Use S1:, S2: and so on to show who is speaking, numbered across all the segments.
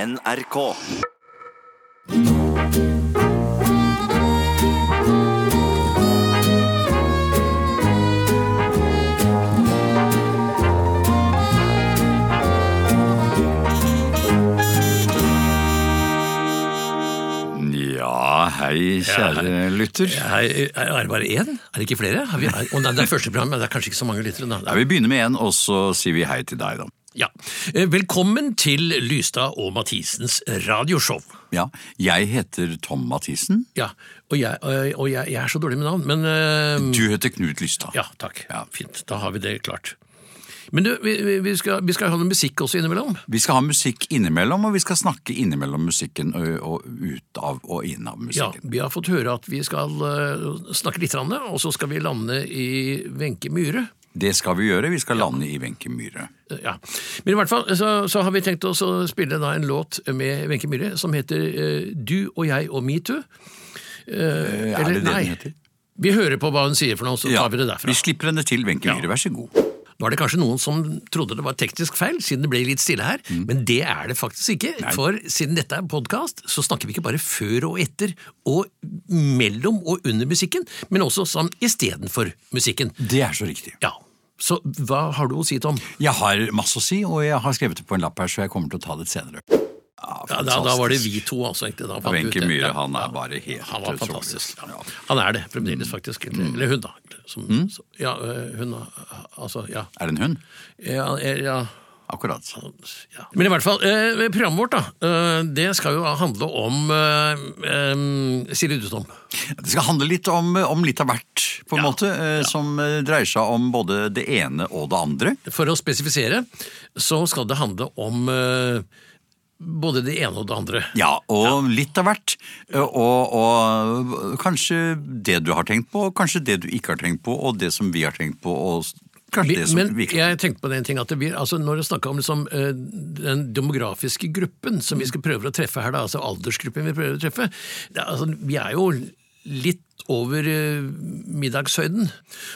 S1: NRK.
S2: Ja, hei, kjære lytter.
S3: Hei, er er det bare én? Er det ikke flere? Har vi, er, å nei, det er første program, men det er kanskje ikke så mange lyttere. da.
S2: Ja, vi begynner med en, og så sier vi hei til deg, da.
S3: Ja. Eh, Velkommen til Lystad og Mathisens radioshow.
S2: Ja, jeg heter Tom Mathisen.
S3: Ja, Og jeg, eh, og jeg, jeg er så dårlig med navn, men eh,
S2: Du heter Knut Lystad.
S3: Ja, takk.
S2: Ja.
S3: Fint. Da har vi det klart. Men du, vi, vi- vi, skal, vi skal ha noe musikk også innimellom.
S2: Vi skal ha musikk innimellom, og vi skal snakke innimellom musikken og, og ut av og inn av
S3: Ja,
S2: musikken.
S3: Vi har fått høre at vi skal eh, snakke litt, om det, og så skal vi lande i Wenche Myhre.
S2: Det skal vi gjøre. Vi skal lande i Wenche Myhre.
S3: Ja. Men i hvert fall så, så har vi tenkt oss å spille da en låt med Wenche Myhre som heter eh, Du og jeg og metoo.
S2: Eh, Er det
S3: Eller
S2: det
S3: nei.
S2: den heter?
S3: Vi hører på hva hun sier for noe, så tar vi det derfra.
S2: vi slipper henne til, Wenche Myhre. Vær så god.
S3: Nå er det kanskje noen som trodde det var teknisk feil, siden det ble litt stille her,
S2: Mm.
S3: men det er det faktisk ikke. For siden dette er podkast, så snakker vi ikke bare før og etter, og mellom og under musikken, men også sånn istedenfor musikken.
S2: Det er så riktig.
S3: Ja. Så hva har du å si, Tom?
S2: Jeg har masse å si, og jeg har skrevet det på en lapp her, så jeg kommer til å ta det senere.
S3: Ja, da, da var det vi to, altså. egentlig. Da fant vi ut
S2: Wenche
S3: det.
S2: Myhre,
S3: Ja.
S2: han er bare helt
S3: Han var
S2: utrolig.
S3: fantastisk.
S2: Ja. Mm.
S3: Ja. Han er det fremdeles, faktisk. Eller, eller hun, da. Som, som- ja, øh, hun øh, Altså, ja.
S2: Er det en hund?
S3: Ja, eh, ja.
S2: Akkurat.
S3: ja. Men i hvert fall, øh, programmet vårt da, øh, det skal jo handle om øh, øh, Silje Dustom.
S2: Det skal handle litt om, om litt av hvert, på en
S3: Ja,
S2: måte, eh, som eh, dreier seg om både det ene og det andre.
S3: For å spesifisere, så skal det handle om øh, både det ene og det andre.
S2: Ja, og litt av hvert. eh, Og, og eh, kanskje det du har tenkt på, og kanskje det du ikke har tenkt på, og det som vi har tenkt på, og s- kanskje
S3: Vi-
S2: det som
S3: Men
S2: vi ikke
S3: jeg tenkte på den ting at det blir, altså når det snakker om liksom, eh, den demografiske gruppen som vi skal prøve å treffe her, da, altså aldersgruppen vi prøver å treffe, det, er- altså, vi er jo litt over eh, middagshøyden.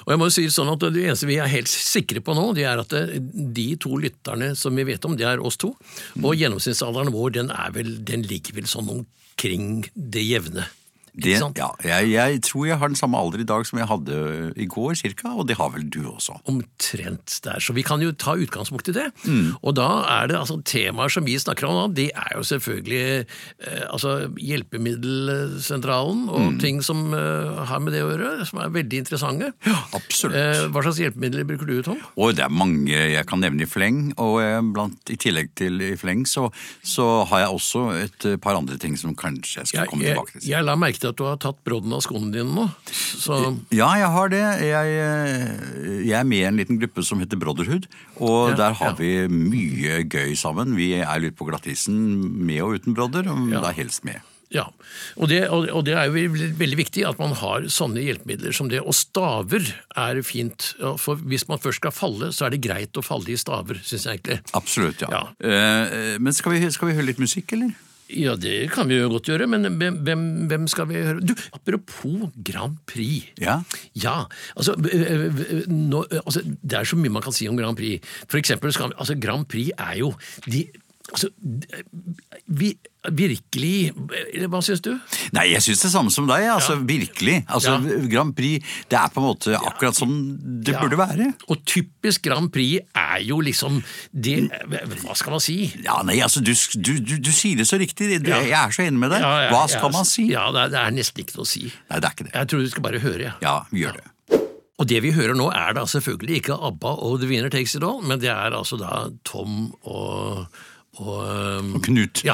S3: Og jeg må jo si det sånn at det eneste vi er helt sikre på nå, det er at det, de to lytterne som vi vet om, det er oss to, og gjennomsnittsalderen vår, den, er vel, den ligger vel sånn omkring det jevne. Ikke
S2: det,
S3: sant?
S2: ja, jeg, jeg tror jeg har den samme alder i dag som jeg hadde eh, i går, cirka, og det har vel du også.
S3: Omtrent der. Så vi kan jo ta utgangspunkt i det.
S2: Mm.
S3: Og da er det altså temaer som vi snakker om nå, det er jo selvfølgelig eh, altså Hjelpemiddelsentralen og
S2: Mm.
S3: ting som eh, har med det å gjøre, som er veldig interessante.
S2: Absolutt.
S3: Eh, hva slags hjelpemidler bruker du, Tom?
S2: Og det er mange jeg kan nevne i fleng, og eh, blant, i tillegg til i fleng så, så har jeg også et eh, par andre ting som kanskje jeg skal komme
S3: jeg,
S2: tilbake til.
S3: jeg la merke til at du har tatt brodden av skoene dine nå. Så
S2: Ja, jeg har det. Jeg, eh, jeg er med i en liten gruppe som heter Brotherhood, og
S3: Ja,
S2: der har
S3: ja.
S2: vi mye gøy sammen. Vi er litt på glattisen med og uten brother, men da helst med.
S3: Ja, og det, og, og det er jo veldig- veldig viktig at man har sånne hjelpemidler som det. Og staver er fint. ja, For hvis man først skal falle, så er det greit å falle i staver, syns jeg egentlig.
S2: Absolutt, ja.
S3: Ja.
S2: Eh, Men skal vi, skal vi høre litt musikk, eller?
S3: Ja, det kan vi jo godt gjøre, men hvem, hvem, hvem skal vi høre Du, apropos Grand Prix.
S2: Ja.
S3: Ja, altså, øh, øh, øh, nå, øh, altså Det er så mye man kan si om Grand Prix. For eksempel, skal, vi- altså, Grand Prix er jo de Altså, d- vi, virkelig eller Hva syns du?
S2: Nei, jeg syns det samme som deg. altså Virkelig. Altså,
S3: Ja.
S2: Grand Prix det er på en måte akkurat som det
S3: Ja.
S2: burde være.
S3: Og typisk Grand Prix er jo liksom det Hva skal man si?
S2: Ja, nei, altså, du, du, du, du sier det så riktig. Du,
S3: Ja.
S2: Jeg er så enig med deg.
S3: Ja, ja,
S2: Hva
S3: ja,
S2: skal man si?
S3: Ja, det er, det er nesten ikke noe å si.
S2: Nei, det er ikke det.
S3: Jeg tror vi skal bare høre, jeg.
S2: Ja, vi gjør det.
S3: Og det vi hører nå, er da selvfølgelig ikke ABBA og The Winner Takes It All, men det er altså da Tom og og, øhm,
S2: Knut. Mm.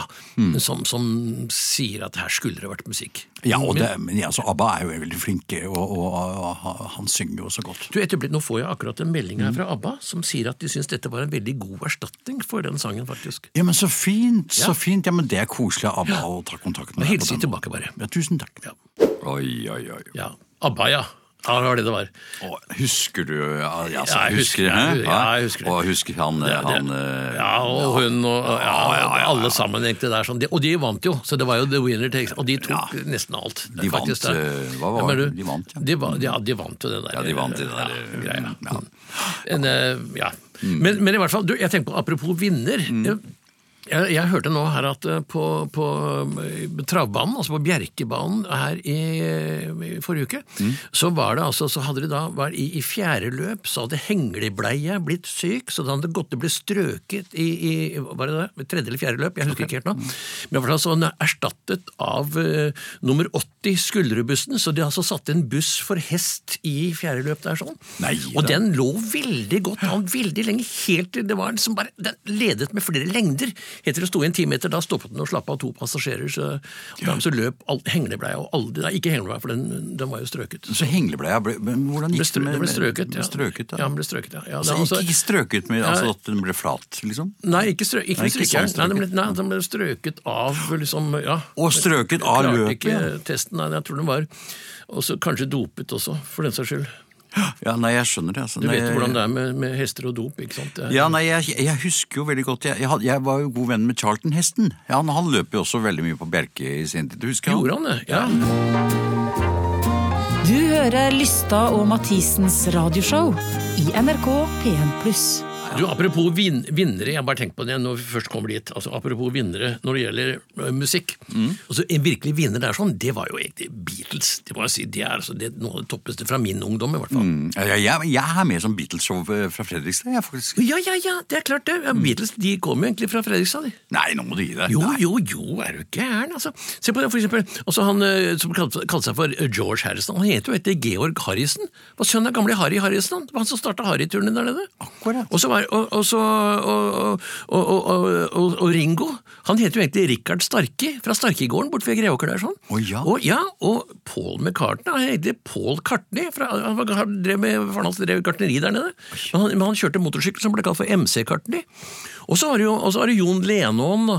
S3: ja, som, som sier at her skulle det vært musikk.
S2: Ja, og det, men ja, så ABBA er jo veldig flinke, og, og, og han synger jo så godt.
S3: Du, etter blitt, Nå får jeg akkurat en melding
S2: Mm.
S3: her fra ABBA som sier at de syns dette var en veldig god erstatning for den sangen, faktisk.
S2: Ja, men så fint!
S3: Ja.
S2: Så fint! Ja, men Det er koselig av ABBA å ta kontakt med
S3: Og
S2: deg på den
S3: hilser
S2: måten.
S3: tilbake, bare.
S2: Ja, tusen takk.
S3: Ja.
S2: Oi, oi, oi.
S3: ja. ABBA, ja. Ja, det var det det var.
S2: Og husker du ja, altså,
S3: Ja, jeg
S2: husker,
S3: husker-
S2: hæ?
S3: ja, jeg husker det.
S2: Og husker han,
S3: Ja, det-
S2: han eh,
S3: ja, og hun og ja,
S2: ja, ja.
S3: alle sammen, egentlig. der sånn. De- Og de vant jo, så det var jo the winner takes Og de tok nesten alt.
S2: De vant,
S3: faktisk, da.
S2: eh, hva var
S3: Ja, men
S2: det?
S3: du,
S2: De vant, ja.
S3: de va- ja, de vant jo det der.
S2: Ja, de vant det der,
S3: ja,
S2: eh,
S3: greia.
S2: ja.
S3: En, eh, ja. Men, men i hvert fall, du, jeg tenker på apropos vinner. Jeg, jeg hørte nå her at eh, på, på eh, travbanen, altså på Bjerkebanen her i, i forrige uke, så var det altså, så hadde det da, var i, i fjerde løp, så hadde henglebleia blitt syk, så da hadde det gått det ble strøket i, i var det det, tredje eller fjerde løp, jeg husker ikke helt nå, men i hvert fall så var den erstattet av eh, nummer 80 Skulderudbussen, så de altså satte en buss for hest i fjerde løp der sånn,
S2: Nei,
S3: og
S2: da.
S3: den lå veldig godt an veldig lenge, helt til det var liksom bare Den ledet med flere lengder. Helt til det sto en time etter, da stoppet den og slapp av to passasjerer. Så, og dermed så løp all, henglebleia og alle Nei, ikke henglebleia, for den, den var jo strøket.
S2: Så henglebleia ble men Hvordan
S3: Den ble,
S2: gikk
S3: strø, den ble strøket,
S2: ja. strøket
S3: ja.
S2: da?
S3: den ble strøket, ja. ja det,
S2: altså,
S3: altså-
S2: ikke strøket, men altså at den ble flat, liksom?
S3: Nei, ikke, strø, ikke,
S2: Nei, ikke
S3: strøket.
S2: sånn
S3: Nei, den ble, nei, den ble strøket av liksom, ja.
S2: Og strøket av
S3: Klarte
S2: løpet,
S3: ikke testen, nei, jeg tror den var også kanskje dopet også, for den saks skyld.
S2: Ja, nei, jeg skjønner det. Altså.
S3: Du vet jo hvordan det er med, med hester og dop, ikke sant? Det er-
S2: Ja, nei, jeg, jeg husker jo veldig godt jeg, jeg, had- jeg var jo god venn med Charlton Heston. Ja, han, han løp jo også veldig mye på Bjerke i sin tid. Du husker han?
S3: Gjorde han det? Ja.
S1: Du hører Lystad og Mathisens radioshow i NRK P1+.
S3: Du, Apropos vin vinnere, jeg har bare tenkt på det når vi først kommer dit. altså Apropos vinnere når det gjelder ø, musikk. Altså, En virkelig vinner der sånn, det var jo egentlig Beatles. Det må jeg si, det er altså det, er noe av det toppeste fra min ungdom, i hvert fall.
S2: Mm. Ja, jeg, jeg, jeg er med som Beatles-show eh, fra Fredrikstad, jeg faktisk.
S3: Ja, ja, ja, det er klart det. Ja, Beatles de kom jo egentlig fra Fredrikstad, de.
S2: Nei, nå må du gi deg.
S3: Jo,
S2: Nei.
S3: jo, jo, er du gæren, altså. Se på det, for eksempel. Også han eh, som kalte kalte seg for eh, George Harrison. Han heter jo etter Georg Harrison. Var sønn av gamle Harry Harrison. han. Det var han som starta Harry-turene der nede.
S2: Akkurat.
S3: Og så var, og, og, så, og, og, og, og, og, og Ringo. Han heter jo egentlig Richard Starkey, fra Starkegården borte ved Greåker der sånn.
S2: Å, ja.
S3: Og, ja, og Paul McCartney. Han heter Paul Cartney. Fra, han var- han drev med faren hans drev gartneri der nede. Men han, men han kjørte motorsykkel som ble kalt for MC-Cartney. Og så har du jo- og så har du Jon Lenån da,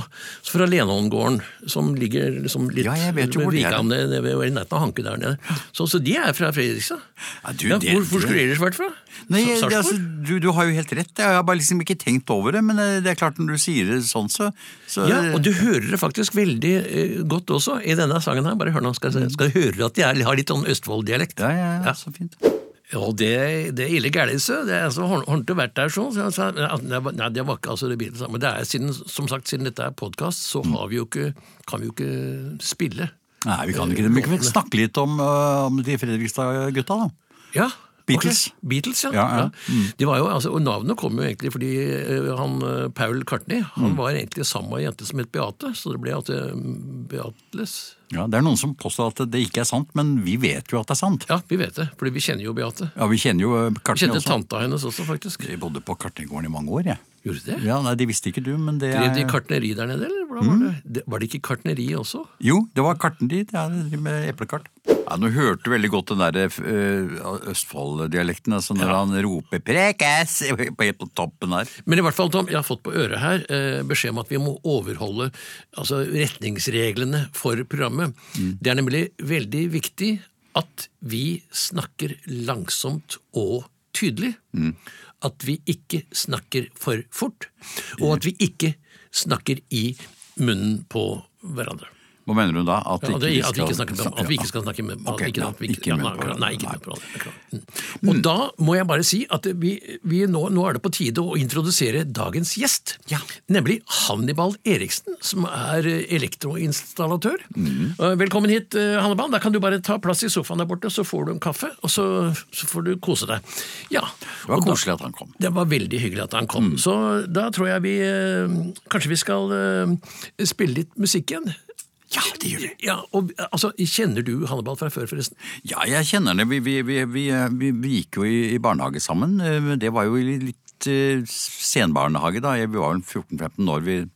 S3: fra Lenångården, som ligger liksom litt
S2: Ja, jeg vet jo
S3: ved
S2: hvor det er.
S3: Vikan, nede ved- i nærheten av Hanke der nede. Så, så de er fra Fredrikstad.
S2: Ja, du, det-
S3: hvor, hvor skulle de ellers vært fra?
S2: Nei, jeg,
S3: Sa-
S2: det,
S3: Sarpsborg?
S2: altså, du, du har jo helt rett. Jeg har bare liksom ikke tenkt over det, men eh, det er klart når du sier det sånn, så, så
S3: Ja, og du hører det faktisk veldig eh, godt også i denne sangen her. Bare hør nå, skal, jeg- skal du høre at jeg har litt sånn Østfold-dialekt.
S2: ja, ja, ja,
S3: Ja.
S2: så fint.
S3: Ja, det, det er ille gærelse. Det er altså har har ikke vært der sånn. Så jeg sa, nei, nei, det var ikke altså det bilen Men det er siden, som sagt, siden dette er podkast, så
S2: Mm.
S3: har vi jo ikke, kan vi jo ikke spille.
S2: Nei, vi kan ikke det. Men kan vi snakke litt om, eh, om de Fredrikstad-gutta, da?
S3: Ja,
S2: Beatles.
S3: ok. Beatles, ja.
S2: Ja, Mm. ja.
S3: De var jo, altså, og navnet kom jo egentlig fordi eh, han, eh, Paul Cartney
S2: Mm.
S3: han var egentlig sammen med ei jente som het Beate, så det ble at det- Beatles.
S2: Ja, det er noen som påstår at det ikke er sant, men vi vet jo at det er sant.
S3: Ja, vi vet det, fordi vi kjenner jo Beate.
S2: Ja, vi kjenner jo eh,
S3: Jeg
S2: Kartny
S3: kjente
S2: også.
S3: tanta hennes også, faktisk.
S2: Jeg bodde på Kartnegården i mange år, jeg.
S3: Gjorde det?
S2: Ja, nei, Det visste ikke du, men det
S3: Drev de
S2: er
S3: kartneri der nede, eller hvordan var
S2: Mm.
S3: det? det? Var det ikke kartneri også?
S2: Jo, det var karten dit. Ja, de driver med eplekart. Ja, Nå hørte du veldig godt den der eh, Østfold-dialekten, altså når han roper 'prekæs' på, på toppen her.
S3: Men i hvert fall, Tom, jeg har fått på øret her eh, beskjed om at vi må overholde altså, retningsreglene for programmet.
S2: Mm.
S3: Det er nemlig veldig viktig at vi snakker langsomt og tydelig.
S2: Mm.
S3: At vi ikke snakker for fort, og at vi ikke snakker i munnen på hverandre.
S2: Hva mener du da? At,
S3: Ja, det, at, vi ikke snakker,
S2: snakke-
S3: at vi ikke skal snakke med
S2: Ok,
S3: ikke,
S2: nei,
S3: at vi ikke-
S2: ikke
S3: ja,
S2: med
S3: nei,
S2: hverandre,
S3: Nei, ikke
S2: nei.
S3: med hverandre. Mm. Og da må jeg bare si at vi, vi nå, nå er det på tide å introdusere dagens gjest.
S2: Ja.
S3: Nemlig Hannibal Eriksen, som er eh, elektroinstallatør.
S2: Mm.
S3: Eh, Velkommen hit, eh, Hannibal. Da kan du bare ta plass i sofaen der borte, så får du en kaffe, og så, så får du kose deg. Ja.
S2: Det var
S3: og da-
S2: koselig Mm. at han kom.
S3: det var veldig hyggelig at han kom. Så da tror jeg vi eh, Kanskje vi skal eh, spille litt musikk igjen?
S2: Ja, det gjør vi.
S3: Ja, og altså, Kjenner du Hannibal fra før, forresten?
S2: Ja, jeg kjenner det. Vi, vi, vi, vi, eh, vi, vi gikk jo i, i barnehage sammen. eh, men Det var jo i litt eh, senbarnehage, da. Jeg- Vi var vel 14-15 år. Vi,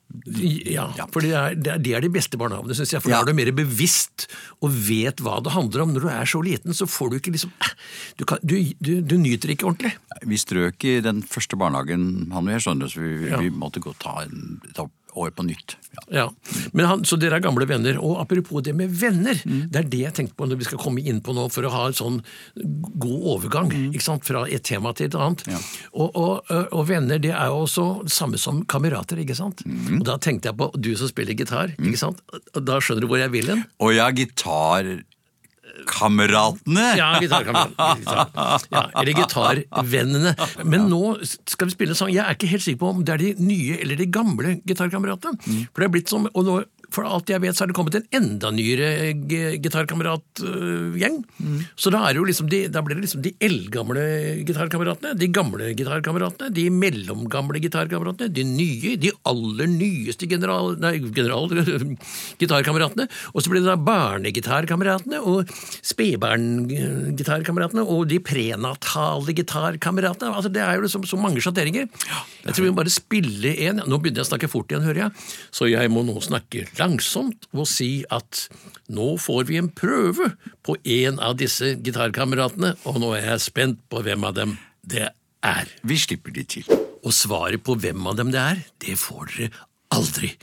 S3: Ja,
S2: Ja.
S3: for det er, det er- det er de beste barnehagene, syns jeg. For
S2: Ja.
S3: da er du mer bevisst og vet hva det handler om. Når du er så liten, så får du ikke liksom eh, Du, kan, du, du, du nyter ikke ordentlig.
S2: vi strøk i den første barnehagen, han og jeg, skjønner du, så vi, vi-
S3: Ja.
S2: vi måtte gå og ta en, et år på nytt. Ja.
S3: Ja, men han, Så dere er gamle venner. Og apropos det med venner, det er det jeg tenkte på når vi skal komme inn på nå, for å ha en sånn god overgang ikke sant, fra et tema til et annet. Og, og, og venner det er jo også det samme som kamerater, ikke sant? Og Da tenkte jeg på du som spiller gitar, ikke sant? Og Da skjønner du hvor jeg vil hen?
S2: Og ja, gitar Kameratene!
S3: Ja, gitarkameraten. Gitar. Ja, eller gitarvennene. Men nå skal vi spille en sang. Jeg er ikke helt sikker på om det er de nye eller de gamle gitarkameratene. For det er blitt som, og nå, for alt jeg vet, så har det kommet en enda nyere g- gitarkameratgjeng. Så da, er det jo liksom de, da blir det liksom de eldgamle gitarkameratene, de gamle gitarkameratene, de mellomgamle gitarkameratene, de nye, de aller nyeste general, nei, general, gitarkameratene. Og så blir det da barnegitarkameratene og spedbarngitarkameratene og de prenatale gitarkameratene. Altså, det er jo liksom så mange sjatteringer. Jeg tror vi må bare spille en. Nå begynner jeg å snakke fort igjen, hører jeg. Så jeg må nå snakke langsomt og si at nå får vi en prøve på en av disse gitarkameratene, og nå er jeg spent på hvem av dem det er.
S2: Vi slipper de til.
S3: Og svaret på hvem av dem det er, det får dere aldri.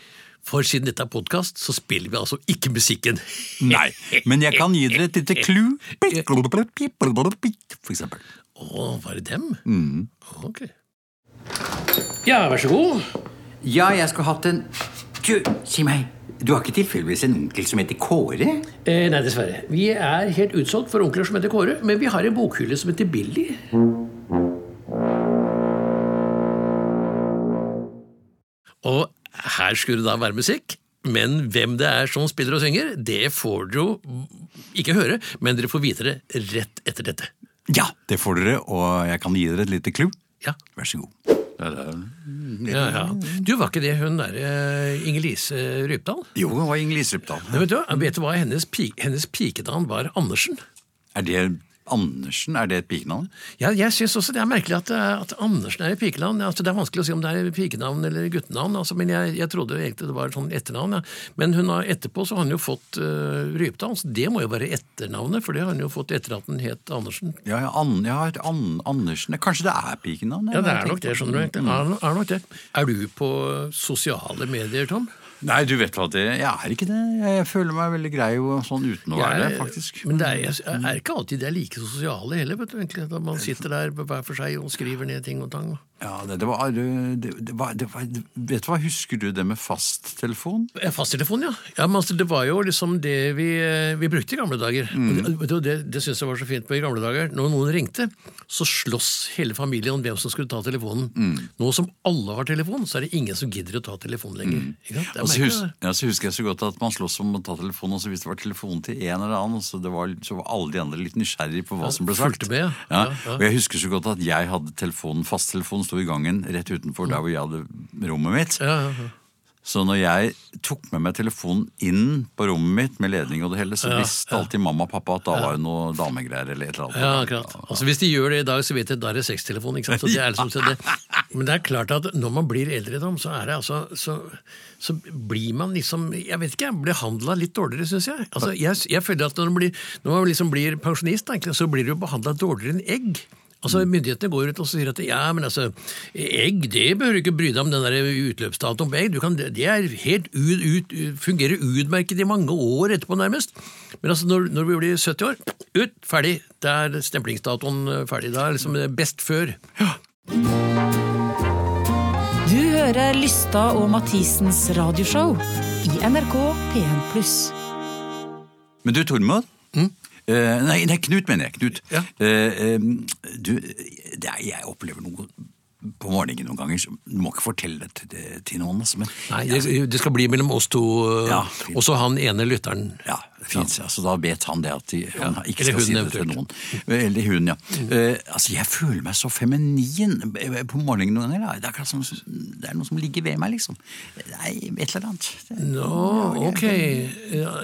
S3: For siden dette er podkast, så spiller vi altså ikke musikken.
S2: Nei, men jeg kan gi dere et lite clue. For eksempel.
S3: Å, var det dem? Ok. Ja, vær så god.
S4: Ja, jeg skulle hatt en Du, si meg, du har ikke tilfeldigvis en onkel som heter Kåre?
S3: Eh, nei, dessverre. Vi er helt utsolgt for onkler som heter Kåre, men vi har en bokhylle som heter Billy. Og her skulle det da være musikk. Men hvem det er som spiller og synger, det får dere jo ikke høre, men dere får vite det rett etter dette.
S2: Ja, det får dere, og jeg kan gi dere et lite clue.
S3: Ja,
S2: Vær så god.
S3: ja, ja. Du, var ikke det hun der eh, Inger-Lise Rypdal?
S2: Jo, det var Inge-Lise Rypdal.
S3: Nei, vet, du, hva? vet du hva hennes, pi hennes pikenavn var? Andersen.
S2: Er det Andersen? Er det et pikenavn?
S3: Ja, jeg synes også det er merkelig at, eh, at Andersen er et pikenavn. Altså, det er vanskelig å si om det er pikenavn eller guttenavn, altså, men jeg, jeg trodde egentlig det var sånn etternavn. Ja. Men hun har, etterpå så har hun jo fått uh, Rypdal, så det må jo være etternavnet, for det har hun jo fått etter at hun het Andersen.
S2: Ja, ja, An, ja et An, Andersen Kanskje det er pikenavn?
S3: Ja, det er nok det, skjønner du. egentlig. Er, er nok Mm. det. Er du på sosiale medier, Tom?
S2: Nei, du vet hva det Jeg er ikke det. Jeg føler meg veldig grei og sånn uten å være det, faktisk.
S3: Men det er, jeg er ikke alltid det er like sosiale heller, vet du, egentlig. Da man sitter der hver for seg og skriver ned ting og tang.
S2: Ja, det, det, var, det, det, var, det var Vet du hva, husker du det med fasttelefon?
S3: Eh, Fasttelefon, ja. ja men altså, det var jo liksom det vi, eh, vi brukte i gamle dager. Og Det, og det, det syns jeg var så fint med i gamle dager. Når noen ringte, så sloss hele familien om hvem som skulle ta telefonen. Nå som alle har telefon, så er det ingen som gidder å ta telefonen lenger. Ikke sant? Det er
S2: Og så
S3: merkelig,
S2: hus-
S3: det der.
S2: ja, så husker jeg så godt at man sloss om å ta telefonen, og så hvis det var telefon til en eller annen, så, det var, så var alle de andre litt nysgjerrige på hva som ble sagt.
S3: fulgte med, ja.
S2: Ja,
S3: Ja, ja.
S2: Og jeg husker så godt at jeg hadde telefonen, fasttelefonen sto i gangen rett utenfor der hvor jeg hadde rommet mitt.
S3: Mm. Ja, ja, ja.
S2: Så når jeg tok med meg telefonen inn på rommet mitt med ledning og det hele, så visste alltid mamma og pappa at da var det noe damegreier eller et eller annet.
S3: Ja, akkurat. Altså, hvis de gjør det i dag, så vet jeg at da er det sextelefon. ikke sant? Så det er liksom så det. Men det er klart at når man blir eldre, Tom, så, er det altså, så, så blir man liksom Jeg vet ikke, jeg blir handla litt dårligere, syns jeg. Altså, jeg. Jeg føler at når man blir, når man liksom blir pensjonist, da, egentlig, så blir du behandla dårligere enn egg. Altså, Myndighetene går ut og sier at ja, men altså, egg det behøver du ikke bry deg om den der utløpsdatoen på egg. Du kan, det er helt ut, ut, fungerer utmerket i mange år etterpå, nærmest. Men altså, når, når vi blir 70 år, ut, ferdig. Da er stemplingsdatoen eh, ferdig. Da er liksom det best før.
S1: Du hører Lystad og Mathisens radioshow i NRK P1+.
S2: Men du, Tormod? Eh, nei, nei, Knut mener jeg. Knut.
S3: Mm? Ja.
S2: Eh, eh, du, det er, jeg opplever noe på morgenen noen ganger. som- Du må ikke fortelle det til, det, til noen, altså. Men,
S3: Nei, det, det skal bli mellom oss to, eh,
S2: Ja, fint.
S3: og så han ene lytteren.
S2: ja, det fins. Altså, da vet han det at de, han ikke
S3: eller
S2: skal
S3: Mm.
S2: si
S3: hun
S2: det til noen. Eller hun, ja. Eh, altså, jeg føler meg så feminin eh, på morgenen noen ganger. da. Det er akkurat som det er noe som ligger ved meg, liksom. Nei, et eller annet. Det,
S3: Nå, ok. Ja,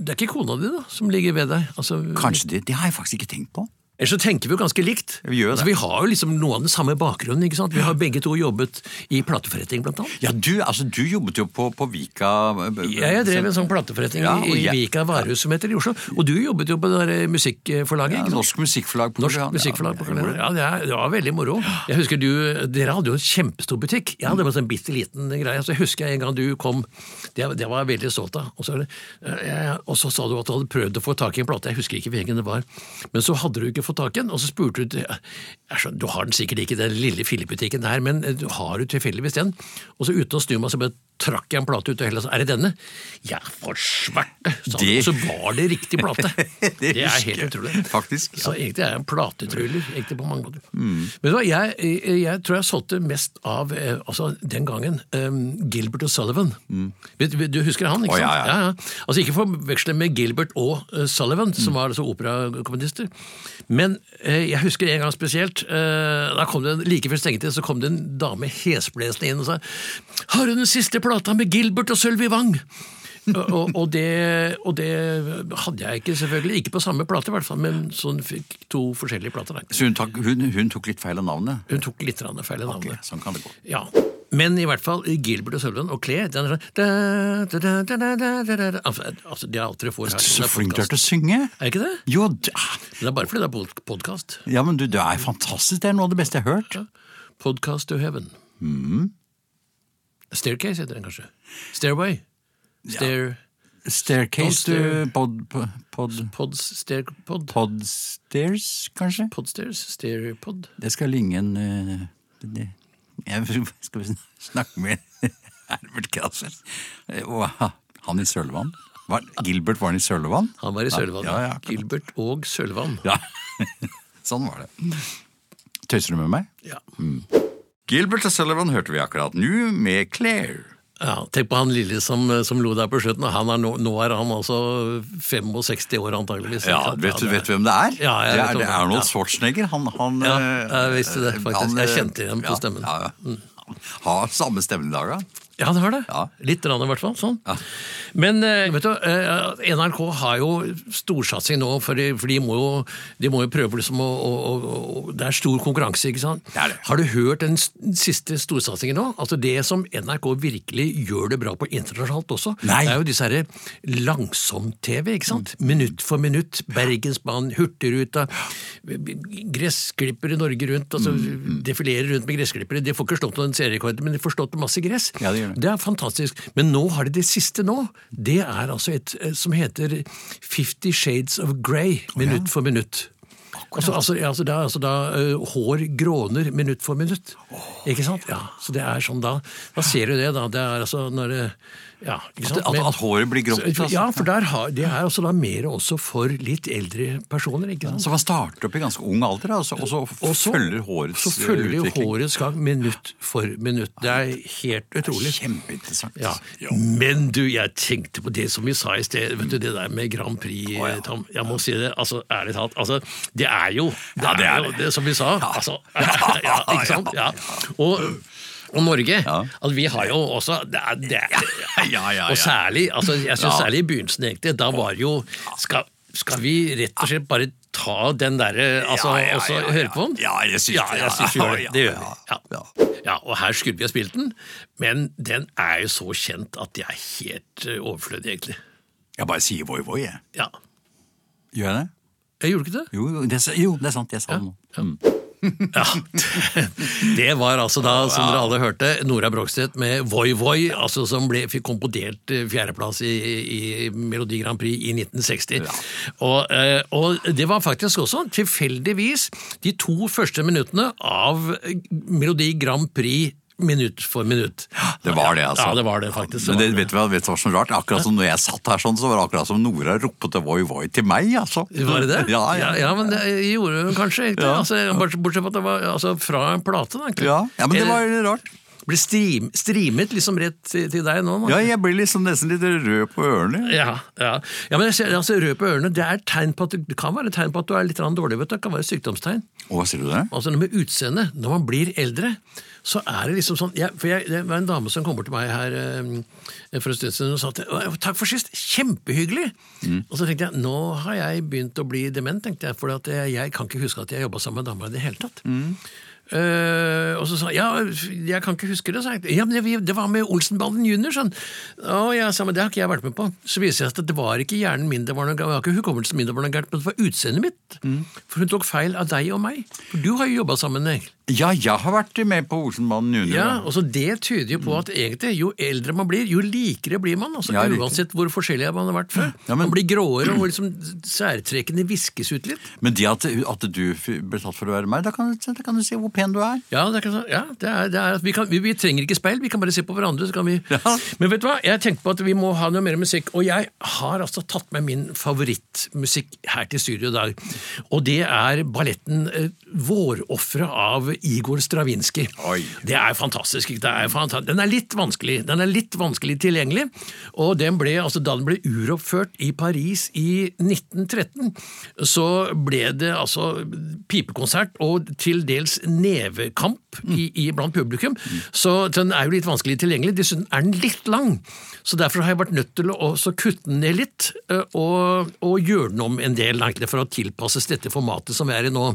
S3: Det er ikke kona di, da, som ligger ved deg? Altså,
S2: kanskje det. Det har jeg faktisk ikke tenkt på.
S3: Ellers så tenker vi jo ganske likt.
S2: Vi gjør det.
S3: Altså, vi har jo liksom noe av den samme bakgrunnen. ikke sant? Vi har begge to jobbet i plateforretning, blant annet.
S2: Ja, du, altså, du jobbet jo på, på Vika eh,
S3: Jeg, jeg drev en sånn plateforretning
S2: Ja, og
S3: i
S2: jeg-
S3: Vika varehus som heter i Oslo. Og du jobbet jo på det der musikkforlaget.
S2: Ja,
S3: ikke sant?
S2: norsk musikkforlag. på
S3: Norsk
S2: Korean.
S3: musikkforlag. på
S2: Ja, jeg gjorde
S3: Kalender. Ja, det, er, det var veldig moro. Jeg husker du, Dere hadde jo en kjempestor butikk. Jeg hadde bare en bitte liten greie. Så jeg husker en gang du kom, det, det var jeg veldig stolt av. Og så, er det- eh, jeg- og så sa du at du hadde prøvd å få tak i en plate. Jeg husker ikke hvilken det var. Men så hadde du ikke fått tak i en, og så spurte hun til- jeg skjønner, Du har den sikkert ikke i den lille fillebutikken her, men eh, du har jo tilfeldigvis den? Og så uten å snu meg, så bare trakk jeg en plate ut og heller så Er det denne? Ja, for sverte! sa hun.
S2: Det-
S3: Og så var det riktig plate. Det er
S2: husker
S3: helt
S2: jeg,
S3: utrolig.
S2: faktisk, ja. Mm.
S3: Så egentlig er jeg en platetryller, egentlig på mange måter. Men hva, jeg, jeg, jeg tror jeg solgte mest av, eh, altså den gangen, eh, Gilbert og Sullivan. Vet, vet- du husker han, ikke
S2: Mm. Å,
S3: sant?
S2: ja, ja.
S3: Altså ikke forveksle med Gilbert og eh, Sullivan, som var altså operakomponister. Men eh, jeg husker en gang spesielt, eh, da kom det en, like før stengetid, så kom det en dame hesblesende inn og sa, har du den siste plata med Gilbert og Sølvi Wang? og, og- og, det, og det hadde jeg ikke, selvfølgelig. Ikke på samme plate, i hvert fall, men så hun fikk to forskjellige plater. der.
S2: Så hun tok, hun, hun tok litt feil av navnet?
S3: Hun tok litt grann feil i navnet.
S2: Ok, sånn kan det gå.
S3: Ja. Men i hvert fall Gilbert og Sullivan og Claire den er sånn da, da, da, da, da, da, da, da. Altså, altså, det er alt dere får her.
S2: Så
S3: Det er
S2: flink du er
S3: podcast.
S2: til å synge!
S3: Er ikke det?
S2: Jo, d- ah,
S3: Det er bare fordi det er podkast.
S2: ja, men du, du er fantastisk. Det er noe av det beste jeg har hørt.
S3: Podcast to heaven.
S2: Mm.
S3: Staircase heter den kanskje. Stairway. Stair...
S2: Staircase to
S3: Podstair.
S2: pod, pod, pod,
S3: Pods... Stair... Pod...
S2: Podstairs, kanskje?
S3: Podstairs? Stairpod?
S2: Det skal ringe en eh, det- Jeg skal sn- snakke med Herbert Krasser. Og han i Sølvann. Var, Gilbert var han i Sølvann?
S3: Han var i Sølvann.
S2: Ja, ja, akkurat.
S3: Gilbert og Sølvann.
S2: Ja. Sånn var det. Tøyser du med meg?
S3: Ja.
S2: Gilbert og Sullivan hørte vi akkurat nå med Claire.
S3: Ja, tenk på han lille som, som lå der på skjøten. og Han er nå, nå er han altså 65 år, antageligvis.
S2: Ja, vet, du- vet du hvem det er?
S3: Ja, jeg
S2: det
S3: vet
S2: er,
S3: om
S2: det er
S3: det.
S2: Arnold
S3: Ja.
S2: Schwarzenegger. Han, han
S3: Ja,
S2: eh,
S3: jeg visste det, faktisk.
S2: eh,
S3: Jeg kjente igjen på
S2: ja,
S3: stemmen. Mm.
S2: Ja, ja. Har samme stemme i dag, ja.
S3: Ja, det har det.
S2: Ja.
S3: Litt rann, i hvert fall. sånn. Men eh, vet du, eh, NRK har jo storsatsing nå, for de, for de, må, jo, de må jo prøve liksom å, å, å, å Det er stor konkurranse, ikke sant?
S2: Det er det.
S3: Har du hørt den s- siste storsatsingen nå? Altså Det som NRK virkelig gjør det bra på internasjonalt også,
S2: Nei.
S3: det er jo disse herre langsom-TV, ikke sant? Minutt for minutt. Bergensbanen, Hurtigruta, gressklippere Norge rundt, altså
S2: Mm.
S3: defilerer rundt med gressklippere. De får ikke slått noen serierekorder, men de får slått masse gress.
S2: Ja, det gjør det.
S3: Det er fantastisk. Men nå har de det siste nå. Det er altså et eh, som heter Fifty Shades of Grey, minutt for minutt. Altså, altså, altså, det er altså da eh, hår gråner minutt for minutt. ikke sant? Ja, så det er sånn da. Da ser du det, da. Det er altså når det Ja, ikke sant?
S2: At, at håret blir grått.
S3: Men-
S2: altså.
S3: ja, for der har, det er altså da mer også for litt eldre personer, ikke sant?
S2: Så man starter opp i ganske ung alder, altså, og så,
S3: Og så-
S2: følger hårets
S3: Så følger
S2: eh,
S3: jo
S2: utvikling.
S3: hårets gang minutt for minutt. Det er helt utrolig.
S2: Kjempeinteressant.
S3: Ja. Men du, jeg tenkte på det som vi sa i sted, vet du, det der med Grand Prix, Tom. Jeg må si det, altså, ærlig talt. Altså, det er jo det,
S2: Ja, det er
S3: er jo
S2: det.
S3: det som vi sa.
S2: Ja.
S3: Altså,
S2: Ja,
S3: ja, ikke sant? Ja. Og, og Norge, altså, vi har jo også det er, det er,
S2: ja, ja, ja.
S3: Og særlig, altså, jeg synes
S2: Ja.
S3: særlig i begynnelsen, egentlig, da var jo skal, skal vi rett og slett bare ta den derre altså,
S2: Ja, ja,
S3: og så
S2: ja, ja.
S3: høre på den?
S2: Ja, jeg synes
S3: ja,
S2: det,
S3: jeg
S2: ja.
S3: synes vi gjør det. Det gjør
S2: Ja,
S3: vi. Ja.
S2: ja.
S3: Ja, og her skulle vi ha spilt den, men den er jo så kjent at de er helt eh, overflødig, egentlig.
S2: Jeg bare sier voi voi, jeg.
S3: Ja.
S2: Gjør jeg det?
S3: Jeg gjorde ikke det?
S2: Jo, jo, det, jo, det er sant. Jeg sa det nå.
S3: Ja. Det var altså da, som dere alle hørte, Nora Brogstedt med Voi Voi, altså som ble, fikk komponert eh, fjerdeplass i, i Melodi Grand Prix i 1960. Og, eh, og det var faktisk også tilfeldigvis de to første minuttene av eh, Melodi Grand Prix minutt for minutt.
S2: Det var det, altså.
S3: Ja, det var det faktisk.
S2: Men det,
S3: var
S2: vet du hva vet du hva som er rart? Akkurat som når jeg satt her sånn, så var det akkurat som Nora ropte voi voi til meg, altså.
S3: Var det det?
S2: Ja, ja.
S3: ja,
S2: ja.
S3: men det gjorde hun kanskje. Ikke? Altså, bortsett bortsett fra at det var altså, fra en plate. Da, egentlig.
S2: Ja, men det var
S3: Eller
S2: rart.
S3: Ble stream, streamet liksom rett til, til deg nå? Da.
S2: Ja, jeg blir liksom nesten litt rød på ørene.
S3: Ja, ja. ja, men jeg ser, altså, Rød på ørene det, er et tegn på at, du- det kan være et tegn på at du er litt grann dårlig. vet du. Det kan være et sykdomstegn.
S2: Å, sier du det?
S3: Altså Med utseendet, når man blir eldre, så er det liksom sånn jeg, For jeg, Det var en dame som kom bort til meg her eh, for en stund siden og sa at «Å, 'takk for sist', kjempehyggelig! Og så tenkte jeg nå har jeg begynt å bli dement, tenkte jeg, for at jeg, jeg kan ikke huske at jeg jobba sammen med dama i det hele tatt. Eh, og så sa han ja, jeg kan ikke huske det. Sa jeg. Ja, men det, det var med Olsenbanden junior. Sånn. Å, ja, sa, han, men det har ikke jeg vært med på. Så viser det seg at det var ikke hjernen min det var noe, det var ikke hukommelsen
S2: Mm.
S3: min det var noe gærent, men det var utseendet mitt. For hun tok feil av deg og meg. For du har jo jobba sammen. Egil.
S2: Ja, jeg har vært med på Olsenbanen junior.
S3: Ja, altså Det tyder jo på at egentlig, jo eldre man blir, jo likere blir man. altså
S2: Mm. Ja, riktig.
S3: Uansett hvor forskjellig man har vært før.
S2: Ja, men-
S3: man blir gråere, og liksom særtrekkene viskes ut litt.
S2: Men det at, at du f- ble tatt for å være meg, da kan, du- da kan du se hvor pen du er.
S3: Ja, det er, ikke sånn- ja, det er, det er at vi, kan, vi, vi trenger ikke speil, vi kan bare se på hverandre. Så kan vi...
S2: Ja.
S3: Men vet du hva, jeg tenkte på at vi må ha noe mer musikk, og jeg har altså tatt med min favorittmusikk her til studio i dag. Og det er balletten eh, Vårofferet av Igor Stravinskij.
S2: Oi.
S3: Det er fantastisk. ikke? Det er fanta- den er litt vanskelig Den er litt vanskelig tilgjengelig. Og den ble, altså, da den ble uroppført i Paris i 1913, så ble det altså pipekonsert og til dels nevekamp i, i blant publikum. Så den er jo litt vanskelig tilgjengelig. Dessuten er den litt lang. Så derfor har jeg vært nødt til å også kutte den ned litt, eh, og, og gjøre den om en del, egentlig, for å tilpasses dette formatet som vi er i nå.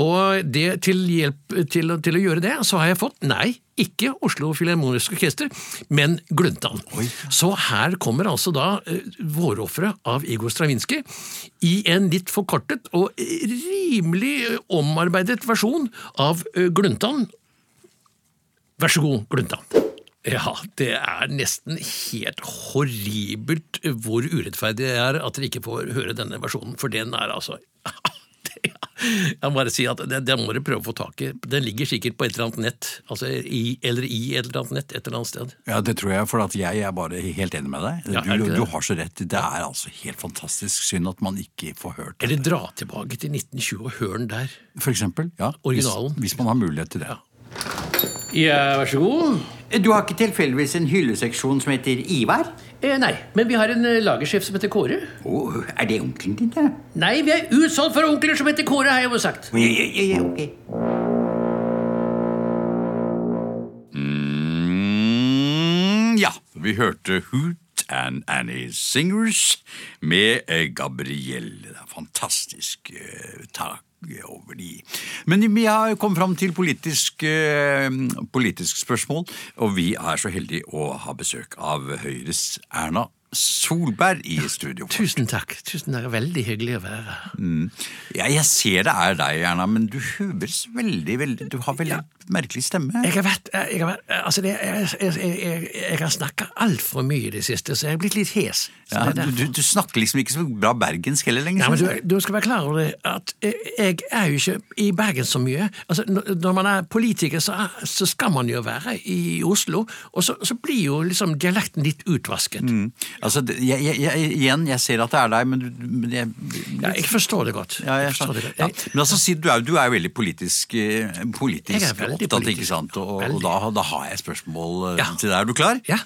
S3: Og det, til hjelp til, å- til å gjøre det, så har jeg fått, nei, ikke Oslo Filharmoniske Orkester, men Gløntan. Så her kommer altså da eh, Vårofferet av Igor Stravinskij i en litt forkortet og eh, rimelig eh, omarbeidet versjon av eh, Gløntan. Vær så god, Gløntan. Ja, det er nesten helt horribelt hvor urettferdig det er at dere ikke får høre denne versjonen, for den er altså Jeg må bare si at den, den må dere prøve å få tak i. Den ligger sikkert på et eller annet nett, altså i, eller i et eller annet nett et eller annet sted.
S2: Ja, det tror jeg, for at jeg er bare helt enig med deg.
S3: Ja, er det
S2: du,
S3: ikke det?
S2: du har så rett. Det er altså helt fantastisk synd at man ikke får hørt det.
S3: Eller dra tilbake til 1920 og hør den der.
S2: For eksempel. Ja,
S3: Originalen.
S2: Hvis, hvis man har mulighet til det.
S3: Ja, vær så god.
S4: Du har ikke tilfeldigvis en hylleseksjon som heter Ivar?
S3: Eh, nei, men vi har en eh, lagersjef som heter Kåre.
S4: Å, er det onkelen din, da?
S3: Nei, vi er utsolgt for onkler som heter Kåre, har jeg jo sagt.
S4: Ja, ja, ja, ja, ok.
S2: Mm, ja, vi hørte Hoot and Annie Singers med eh, Gabrielle. Det er fantastisk eh, tak over de. Men vi har kommet fram til politisk, eh, politisk spørsmål, og vi er så heldige å ha besøk av Høyres Erna Solberg i studio.
S3: Tusen takk. Tusen takk. Veldig hyggelig å være her.
S2: Mm. Ja, jeg ser det er deg, Erna, men du høres veldig, veldig Du har veldig merkelig stemme.
S3: Jeg har vært, jeg har vært altså det, jeg, jeg, jeg, jeg, jeg har snakka altfor mye i det siste, så jeg er blitt litt hes. Så
S2: Ja,
S3: det er
S2: du,
S3: derfor.
S2: du, du snakker liksom ikke så bra bergensk heller lenger.
S3: Ja, men
S2: synes
S3: du,
S2: jeg.
S3: du skal være klar over det, at eh, jeg er jo ikke i Bergen så mye. Altså, når når man er politiker, så, er, så skal man jo være i Oslo, og så, så blir jo liksom dialekten litt utvasket.
S2: Altså, det- jeg, jeg, jeg, igjen, jeg ser at det er deg, men, du- men jeg,
S3: Ja, jeg forstår det godt.
S2: ja, jeg,
S3: jeg forstår det
S2: skjønner.
S3: godt.
S2: ja.
S3: Jeg-
S2: Men altså, si- du er, du er jo veldig politisk, eh, politisk
S3: Jeg er veldig
S2: opptatt,
S3: politisk.
S2: ikke sant? Og, og
S3: Veldig.
S2: da, da har jeg et spørsmål eh,
S3: Ja.
S2: til deg. Er du klar?
S3: Ja.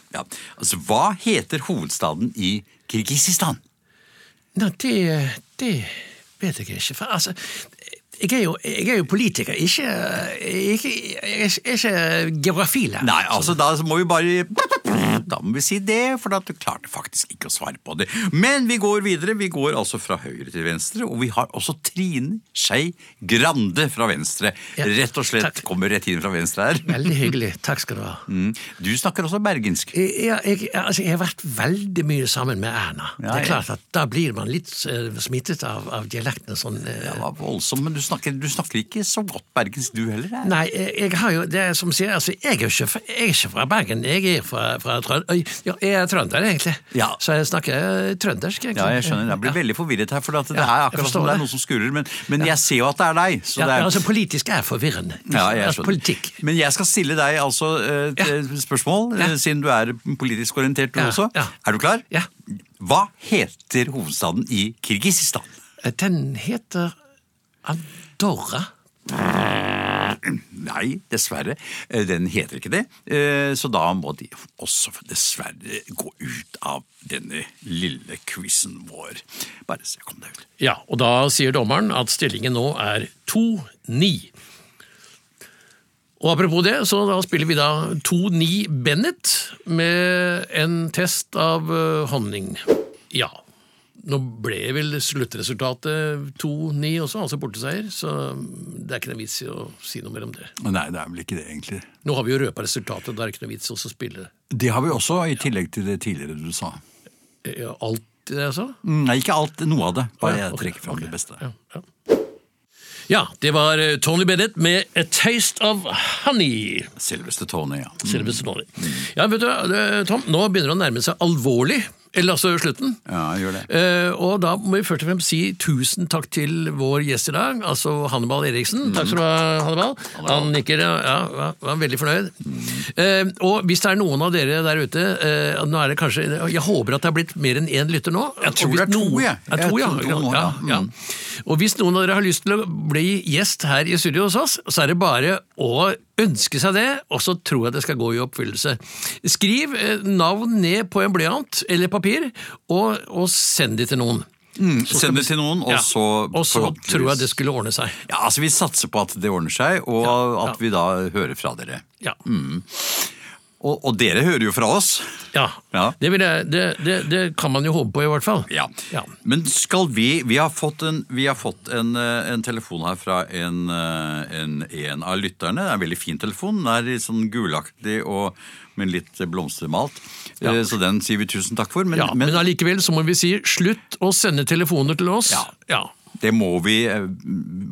S2: Altså, hva heter hovedstaden i Kirgisistan?
S3: Nei, det, det vet jeg ikke. For altså, jeg er jo, jeg er jo politiker, ikke, ikke, jeg er ikke geografilærer.
S2: Nei, altså, da må vi bare Da må vi si det, for at du klarte faktisk ikke å svare på det. Men vi går videre. Vi går altså fra høyre til venstre, og vi har også Trine Skei Grande fra venstre.
S3: Ja,
S2: Rett og slett
S3: takk.
S2: kommer rett inn fra venstre her.
S3: Veldig hyggelig. Takk skal du ha.
S2: Mm. Du snakker også bergensk.
S3: Jeg, jeg, jeg- altså, jeg har vært veldig mye sammen med Erna.
S2: Ja,
S3: det er
S2: ja.
S3: klart at Da blir man litt eh, smittet av, av dialektene. Sånn, eh,
S2: Det var voldsomt, men du snakker, du snakker ikke så godt bergensk du heller. er.
S3: Nei, jeg, jeg har jo det er som sier, altså, jeg er jo ikke, fra- jeg er ikke fra Bergen. Jeg er fra, fra Trønd... Oi, Ja, jeg er trønder, egentlig.
S2: Ja.
S3: Så jeg snakker eh, trøndersk, egentlig.
S2: Ja, jeg skjønner. Jeg blir veldig forvirret her, for at det
S3: Ja,
S2: er
S3: jeg
S2: akkurat
S3: forstår
S2: som det
S3: det.
S2: er noe som skurrer. Men, men jeg ser jo at det er deg. Så
S3: Ja,
S2: det er...
S3: altså, politisk er forvirrende.
S2: Ja, jeg
S3: altså,
S2: skjønner.
S3: politikk.
S2: Men jeg skal stille deg altså et
S3: Ja.
S2: spørsmål, eh,
S3: Ja.
S2: siden du er politisk orientert du
S3: Ja,
S2: også.
S3: ja.
S2: Er du klar?
S3: Ja.
S2: Hva heter hovedstaden i Kirgisistan?
S3: Den heter Andorra.
S2: Nei, dessverre. eh, Den heter ikke det. Eh, Så da må de også dessverre gå ut av denne lille quizen vår. Bare se, kom deg ut.
S3: Ja, og da sier dommeren at stillingen nå er 2-9. Og apropos det, så da spiller vi da 2-9 Bennett med en test av eh, honning. Ja. Nå ble vel sluttresultatet 2-9 også, altså borteseier, så det er ikke noe vits i å si noe mer om det.
S2: Nei, det er vel ikke det, egentlig.
S3: Nå har vi jo røpa resultatet, da er det ikke noe vits i å spille
S2: Det har vi også, i tillegg til det tidligere du sa.
S3: eh, alt det jeg sa.
S2: Mm, Nei, ikke alt, noe av det. Bare
S3: Ja,
S2: jeg
S3: ok,
S2: trekker fram
S3: ok,
S2: det beste.
S3: Ja, ja. Ja, det var eh, Tony Bennett med A Taste of Honey.
S2: Selveste Tony, ja.
S3: Selveste Tony. Ja, vet du, hva, eh, Tom, nå begynner det å nærme seg alvorlig. Eller altså slutten.
S2: Ja, gjør det.
S3: Eh, og da må vi først og fremst si tusen takk til vår gjest i dag, altså Hannibal
S2: Mm.
S3: Eriksen. Takk skal du ha, Hannibal. Han nikker, ja, ja, var veldig fornøyd.
S2: Mm.
S3: Eh, og hvis det er noen av dere der ute eh, nå er det kanskje, Jeg håper at det er blitt mer enn én lytter nå. Jeg
S2: tror det er to, jeg.
S3: Ja, to,
S2: Jeg
S3: ja.
S2: tror det er
S3: ja,
S2: to nå, Mm.
S3: ja,
S2: ja.
S3: ja. Og hvis noen av dere har lyst til å bli gjest her i studio hos oss, så er det bare å ønske seg det, og så tror jeg det skal gå i oppfyllelse. Skriv eh, navn ned på en blyant eller papir, og, og send det til noen.
S2: Mm, Send det til noen, og
S3: Ja.
S2: så
S3: og så
S2: forhåpentligvis-
S3: tror jeg det skulle ordne seg.
S2: Ja, altså Vi satser på at det ordner seg, og
S3: Ja,
S2: at
S3: ja.
S2: vi da hører fra dere.
S3: Ja.
S2: Mm. Og, og dere hører jo fra oss.
S3: ja.
S2: Ja.
S3: Det, vil jeg, det, det, det kan man jo håpe på, i hvert fall.
S2: Ja.
S3: Ja.
S2: Men skal vi Vi har fått en, vi har fått en, eh, en telefon her fra en, eh, en, en av lytterne. Det er en veldig fin telefon. Den er litt sånn gulaktig og men litt blomstermalt.
S3: Ja.
S2: Eh, Så den sier vi tusen takk for. Men,
S3: Ja, men
S2: men
S3: allikevel så må vi si slutt å sende telefoner til oss.
S2: Ja. det må vi eh,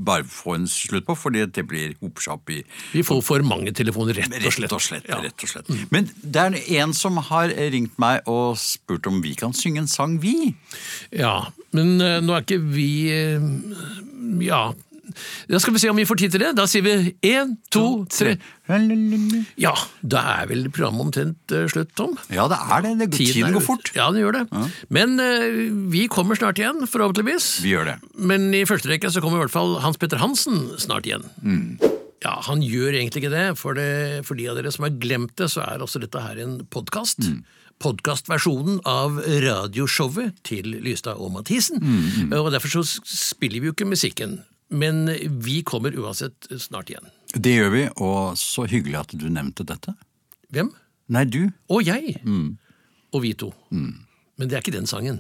S2: bare få en slutt på, fordi det blir hopsjapp i
S3: Vi får for mange telefoner, rett og
S2: Rett
S3: slett.
S2: og slett. Mm.
S3: Ja.
S2: rett og slett. Men det er en som har ringt meg og spurt om vi kan synge en sang, vi.
S3: Ja, men eh, nå er ikke vi eh, Ja. Da skal vi se om vi får tid til det. Da sier vi én, to, tre. Ja, da er vel programmet omtrent eh, slutt, Tom.
S2: Ja, det er det. det tiden,
S3: er
S2: går
S3: ute.
S2: fort.
S3: Ja, den gjør det. Men eh, vi kommer snart igjen, forhåpentligvis.
S2: Vi gjør det.
S3: Men i første rekke så kommer i hvert fall Hans Petter Hansen snart igjen. Ja, Han gjør egentlig ikke det. For, det, for de av dere som har glemt det, så er også dette her en podkast. Podkastversjonen av radioshowet til Lystad og Mathisen. Og Derfor så spiller vi jo ikke musikken. Men vi kommer uansett snart igjen.
S2: Det gjør vi, og så hyggelig at du nevnte dette.
S3: Hvem?
S2: Nei, du.
S3: Og jeg. Og vi to. Men det er ikke den sangen.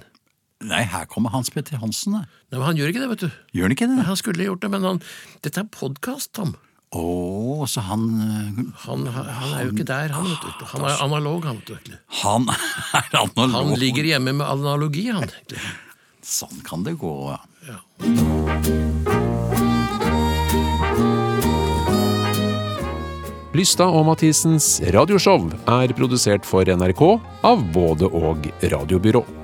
S2: Nei, her kommer Hans Petter Hansen. da.
S3: Nei, men Han gjør ikke det, vet du.
S2: Gjør han ikke det?
S3: Han skulle gjort det, men han Dette er podkast, Tom.
S2: Å, så han øh,
S3: Han, han er jo ikke der, han. Vet du. Han er analog, han. Vet du.
S2: Han er analog.
S3: Han ligger hjemme med analogi, han. egentlig.
S2: Sånn kan det gå. ja.
S5: Lystad og Mathisens radioshow er produsert for NRK av både og radiobyrå.